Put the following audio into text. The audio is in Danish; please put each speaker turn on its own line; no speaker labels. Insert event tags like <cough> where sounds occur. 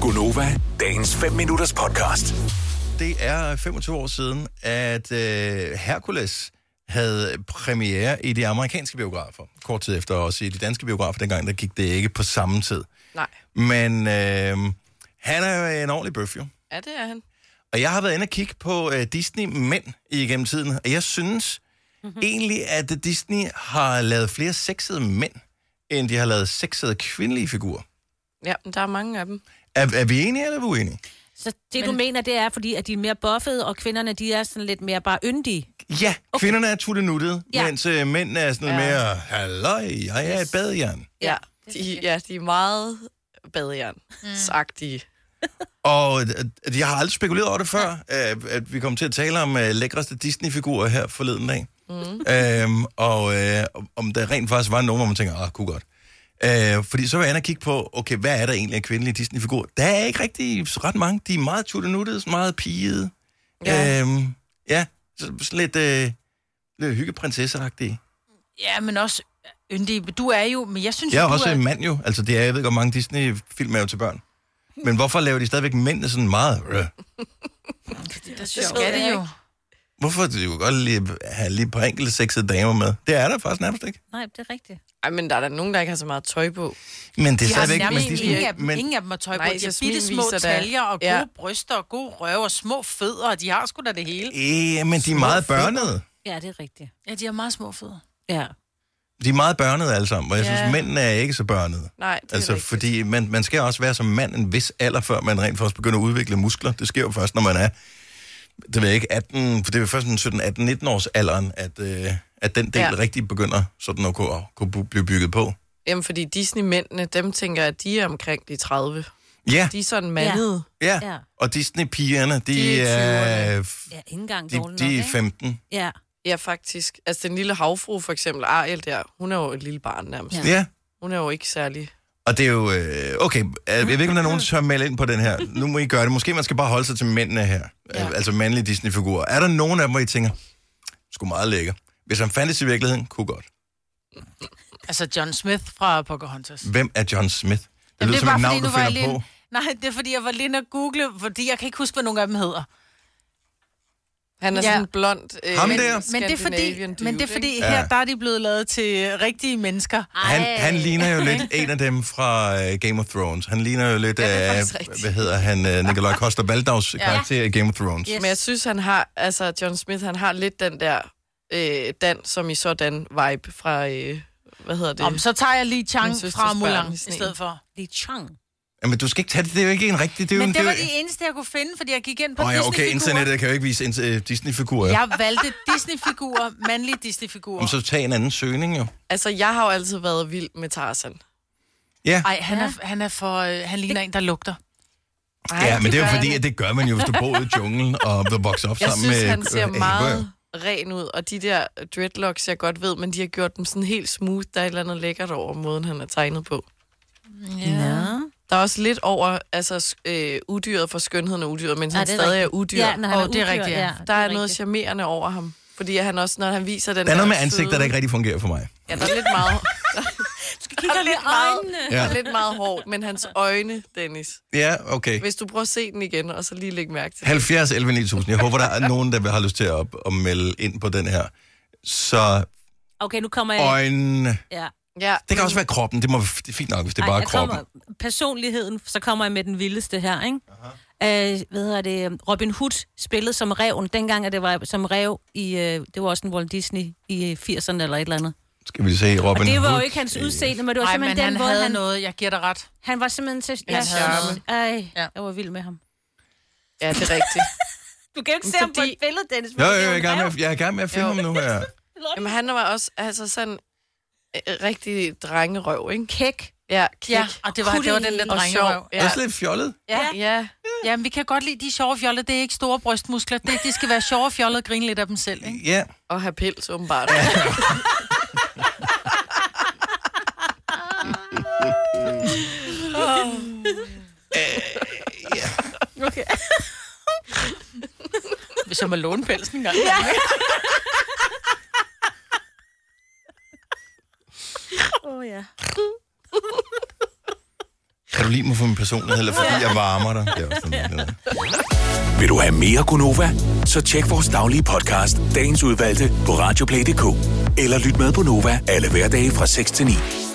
Gunova, dagens 5 minutters podcast.
det er 25 år siden, at øh, Hercules havde premiere i de amerikanske biografer. Kort tid efter også i de danske biografer dengang, der gik det ikke på samme tid.
Nej.
Men øh, han er jo en ordentlig bøf, jo.
Ja, det er han.
Og jeg har været inde og kigge på øh, Disney-mænd igennem tiden, og jeg synes mm-hmm. egentlig, at Disney har lavet flere sexede mænd, end de har lavet sexede kvindelige figurer.
Ja, men der er mange af dem.
Er, er vi enige, eller er vi uenige?
Så det, du mener, det er, fordi at de er mere buffede, og kvinderne, de er sådan lidt mere bare yndige.
Ja, okay. kvinderne er tuttenuttede, ja.
Ja.
mens øh, mændene er sådan ja. mere, halløj, jeg er et badejern.
Ja, de, ja, de er meget badejern-agtige.
Mm.
Og øh, jeg har aldrig spekuleret over det før, øh, at vi kom til at tale om øh, lækreste Disney-figurer her forleden dag. Mm. Øhm, og øh, om- om der rent faktisk var nogen, hvor man tænker, ah, kunne godt. Øh, fordi så var jeg inde og kigge på, okay, hvad er der egentlig af kvindelige Disney-figurer? Der er ikke rigtig ret mange. De er meget tuttenuttede, meget pigede. Ja,
Ja.
øhm, ja så- sådan lidt, øh, lidt hyggeprinsesseragtige.
Ja, men også yndige. Du er jo, men jeg synes
Jeg er
jo, du
også
er...
en mand jo. Altså, det er, jeg ved godt, mange Disney-film er jo til børn. Men hvorfor laver de stadigvæk mændene sådan meget... Øh?
Det skal det jo.
Hvorfor de jo godt lige have lige et par enkelte sexede damer med? Det er der faktisk nærmest ikke.
Nej, det er rigtigt.
Ej, men der er der nogen, der ikke har så meget tøj på.
Men det er
De har
stadigvæk...
nærmest
Men,
ingen, ingen, af
Disney,
dem, men...
men,
ingen af dem har tøj på.
Nej,
Nej, de har
så smin
bitte små
viser der-
taljer og gode
Ja.
ja. bryster og gode røve og små fødder, og de har sgu da det hele.
øh, men de er meget børnede.
Ja, det er rigtigt.
Ja, de har meget små fødder.
Ja.
De er meget børnede alle sammen, og jeg synes,
Ja.
mændene er ikke så børnede.
Nej, det er
Altså,
rigtigt.
fordi man, man skal også være som mand en vis alder, før man rent faktisk begynder at udvikle muskler. Det sker jo først, når man er, det ved jeg ikke, 18, for det er jo først sådan 17, 18, 19 års alderen, at, øh, at den del ja.
Ja.
rigtig begynder sådan at kunne, at kunne bu- blive bygget på.
Jamen, fordi Disney-mændene, dem tænker jeg, at de er omkring de 30.
Ja,
De er sådan mandede.
ja.
Ja.
Og Disney-pigerne, de,
De
de
er i
er,
Ja, ikke engang
de,
dårlig nok,
de er
ikke?
15.
Ja.
Ja. ja, faktisk. Altså, den lille havfru, for eksempel, Ariel der, hun er jo et lille barn nærmest. Ja.
Ja.
Ja,
Hun er jo ikke særlig...
og det er jo... Øh, okay, øh, jeg ved ikke, om der er nogen, der tør melde ind på den her. Nu må I gøre det. Måske man skal bare holde sig til mændene her. Ja.
Ja.
Altså mandlige Disney-figurer. Er der nogen af dem, hvor I tænker, sgu meget lækker. Hvis han fandtes i virkeligheden, kunne godt.
Altså John Smith fra Pocahontas. Det
Hvem er John Smith? Det lyder som et navn, du
var
finder
jeg lige...
på.
Nej, det er fordi, jeg var lige inde og google, fordi jeg kan ikke huske, hvad nogen af dem hedder.
Han er ja.
Ja.
sådan blond... Øh,
Ham der?
Men det er fordi,
Scandinavian
men det
dude,
er fordi
ikke?
Ja.
her der er de blevet lavet til rigtige mennesker.
Han, han ligner jo lidt en af dem fra uh, Game of Thrones. Han ligner jo lidt
det er
af,
faktisk rigtigt.
hvad hedder han, uh, Nikolaj Koster Baldags karakter i Game of Thrones.
Yes.
Men jeg synes, han har... Altså, John Smith, han har lidt den der... Øh, dan, som i sådan vibe fra... Øh, hvad hedder det?
Om, så tager jeg lige Chang
Min søsters
fra
børn
Mulan
i
i
sneen.
stedet for.
Li Chang.
Jamen, du skal ikke tage det. Det er jo ikke en rigtig... Det er jo,
Men
en-
det var
er-
de eneste, jeg kunne finde, fordi jeg gik ind på
Åh oh, ja, okay,
Disney-figurer.
internettet kan jo ikke vise ins- øh, Disney-figurer. Ja.
Jeg valgte Disney-figurer, mandlige Disney-figurer.
Så tag en anden søgning jo.
Altså, jeg har jo altid været vild med Tarzan.
Ja,
Ej, han, er, han, er for, øh, han ligner en, der lugter.
Ej,
ja men det er
gør
jo fordi, at det gør man jo, hvis du bor ude i junglen og vokser op
Jeg
sammen
synes,
med...
han ser
øh,
meget ren ud, og de der dreadlocks, jeg godt ved, men de har gjort dem sådan helt smooth. Der er et eller andet lækkert over måden, han er tegnet på.
Ja.
Der er også lidt over altså, s- øh, udyret for skønheden og udyret, mens han
det er
stadig
rigtigt.
er udyr.
Ja, når han
Åh,
er
det er
udyr,
rigtigt, ja.
ja.
der er,
det
noget
rigtigt.
charmerende over ham. Fordi han også, når han viser den
Der er noget med
ansigt,
ansigter, der ikke rigtig fungerer for mig.
Ja, der er lidt
<laughs>
meget,
Du kigger lidt øjnene.
Ja.
ja. der er lidt meget hår, men hans øjne, Dennis.
Ja, okay.
Hvis du prøver at se den igen, og så lige lægge mærke til
70 11 9000. Jeg håber, der er nogen, der har lyst til at, op- at melde ind på den her. Så
Okay, nu kommer jeg.
øjnene...
Ja.
den. Ja,
Det kan også være kroppen. Det, må, det er fint nok, hvis det er bare
Ej,
er
jeg
kroppen.
Kommer, personligheden, så kommer jeg med den vildeste her, ikke? Øh, hvad hedder det? Robin Hood spillede som reven, dengang at det var som rev i, øh, det var også en Walt Disney i øh, 80'erne eller et eller andet.
Skal vi se Robin
Og det var jo
Hood.
ikke hans
Øh,
udseende, men det var
Ej, men
simpelthen
han
den måde,
havde
han,
noget. Jeg giver dig ret.
han var simpelthen til...
Han havde
synes- Ej,
Ja.
jeg var vild med ham.
ja, det er rigtigt.
Du kan jo ikke se
Fordi-
ham på et billede, Dennis.
Jo,
fordi
jo,
det
jeg
er
er i
en
gang med,
rev.
jeg er i gang med at filme ham nu her.
Jamen, han var også altså sådan øh, rigtig drengerøv, ikke?
Kæk.
Ja, kæk.
Ja, og det var, det var den der
Og
drengerøv.
Ja. Også lidt fjollet.
Ja. ja.
Ja, men vi kan godt lide de sjove fjoller. Det er ikke store brystmuskler. Det, de skal være sjove fjoller og grine lidt af dem selv, ikke?
Ja.
Og have pels, åbenbart.
Okay.
Hvis jeg må låne pelsen engang. Ja.
Åh, oh, ja.
Kan du du lide mig for min personlighed, eller fordi jeg varmer dig? Det er også sådan, noget.
Vil du have mere Gunova? Så tjek vores daglige podcast, dagens udvalgte, på radioplay.dk. Eller lyt med på Nova alle hverdage fra 6 til 9.